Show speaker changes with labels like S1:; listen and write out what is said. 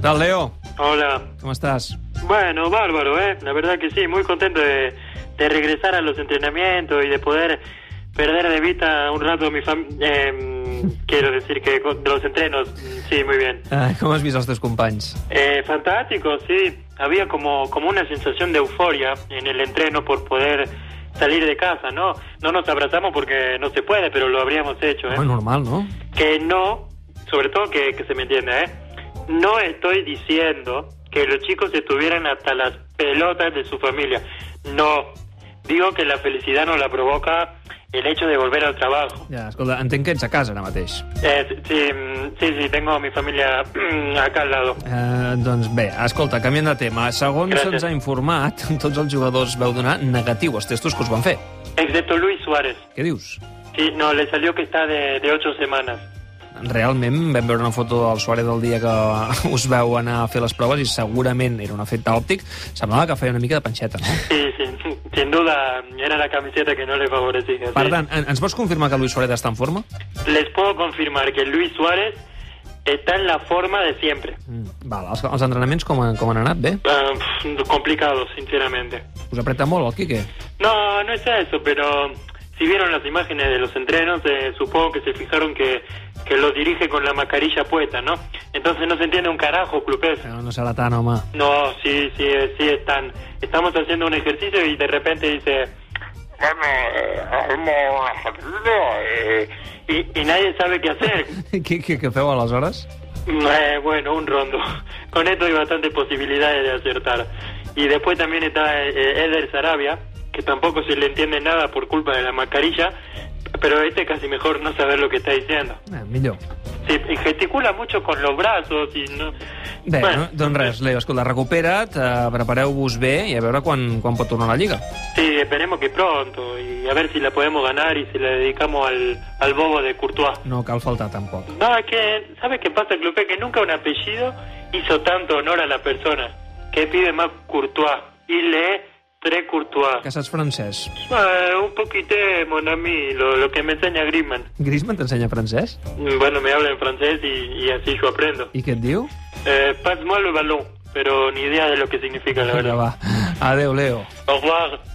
S1: tal, Leo?
S2: Hola.
S1: ¿Cómo estás?
S2: Bueno, bárbaro, ¿eh? La verdad que sí, muy contento de, de regresar a los entrenamientos y de poder perder de vista un rato mi familia. quiero decir que con- de los entrenos, sí, muy bien.
S1: Ah, com has vist els teus companys?
S2: Eh, fantástico, sí. Había como, como una sensación de euforia en el entreno por poder salir de casa, ¿no? No nos abrazamos porque no se puede, pero lo habríamos hecho, ¿eh?
S1: Bueno, normal, no?
S2: que no, sobre todo que, que se me entienda, ¿eh? No estoy diciendo que los chicos estuvieran hasta las pelotas de su familia. No. Digo que la felicidad no la provoca el hecho de volver al trabajo.
S1: Ja, escolta, entenc que ets a casa ara mateix.
S2: Eh, sí, mm, sí, sí, tengo a mi familia mm, acá al lado.
S1: Eh, doncs bé, escolta, canviant de tema. Segons
S2: Gràcies.
S1: se'ns ha informat, tots els jugadors veu donar negatiu als testos que us van fer.
S2: Excepto Luis Suárez.
S1: Què dius?
S2: Sí, no, le salió que está de, de ocho semanas.
S1: Realment vam veure una foto del Suárez del dia que us veu anar a fer les proves i segurament era un efecte òptic. Semblava que feia una mica de panxeta, no?
S2: Sí, sí, sin duda era la camiseta que no le favorecía. sí.
S1: Per tant, en- ens pots confirmar que Luis Suárez està en forma?
S2: Les puedo confirmar que Luis Suárez está en la forma de siempre.
S1: Mm, val, els, els entrenaments com, han- com han anat? Bé?
S2: Ah, pf, complicado, sinceramente.
S1: Us apreta molt el Quique?
S2: No, no es eso, pero si vieron las imágenes de los entrenos, eh, supongo que se fijaron que, que lo dirige con la mascarilla puesta, ¿no? Entonces no se entiende un carajo, clubes.
S1: Però no serà tant, home.
S2: No, sí, sí, eh, sí, están. Estamos haciendo un ejercicio y de repente dice.
S3: Bueno, eh, hacemos un ejercicio. Eh,
S2: Y, y nadie sabe qué hacer.
S1: Què, què, què feu aleshores?
S2: Eh, bueno, un rondo. Con esto hay bastantes posibilidades de acertar. Y después también está eh, Eder Sarabia, que tampoco se le entiende nada por culpa de la mascarilla, pero este casi mejor no saber lo que está diciendo.
S1: Eh, millor.
S2: Sí, y gesticula mucho con los brazos y no...
S1: Bé,
S2: Bueno,
S1: no? doncs res, Leo, escolta, recupera't, eh, prepareu-vos bé i a veure quan, quan pot tornar a la Lliga.
S2: Sí, esperemos que pronto y a ver si la podemos ganar y si la dedicamos al, al bobo de Courtois.
S1: No cal faltar tampoc.
S2: No, es que, ¿sabes qué pasa, Clopé? Que nunca un apellido hizo tanto honor a la persona. Que pide más Courtois. Y lee tres Courtois.
S1: Que saps francès.
S2: Eh, un poquito, mon ami, lo, lo que me enseña Griezmann.
S1: Griezmann t'ensenya francés?
S2: Mm, Bueno, me habla en francés y, y así yo aprendo.
S1: I què et diu?
S2: Eh, Passe-moi le balón, pero ni idea de lo que significa, la
S1: Vinga,
S2: verdad.
S1: va. Adéu, Leo.
S2: Au revoir.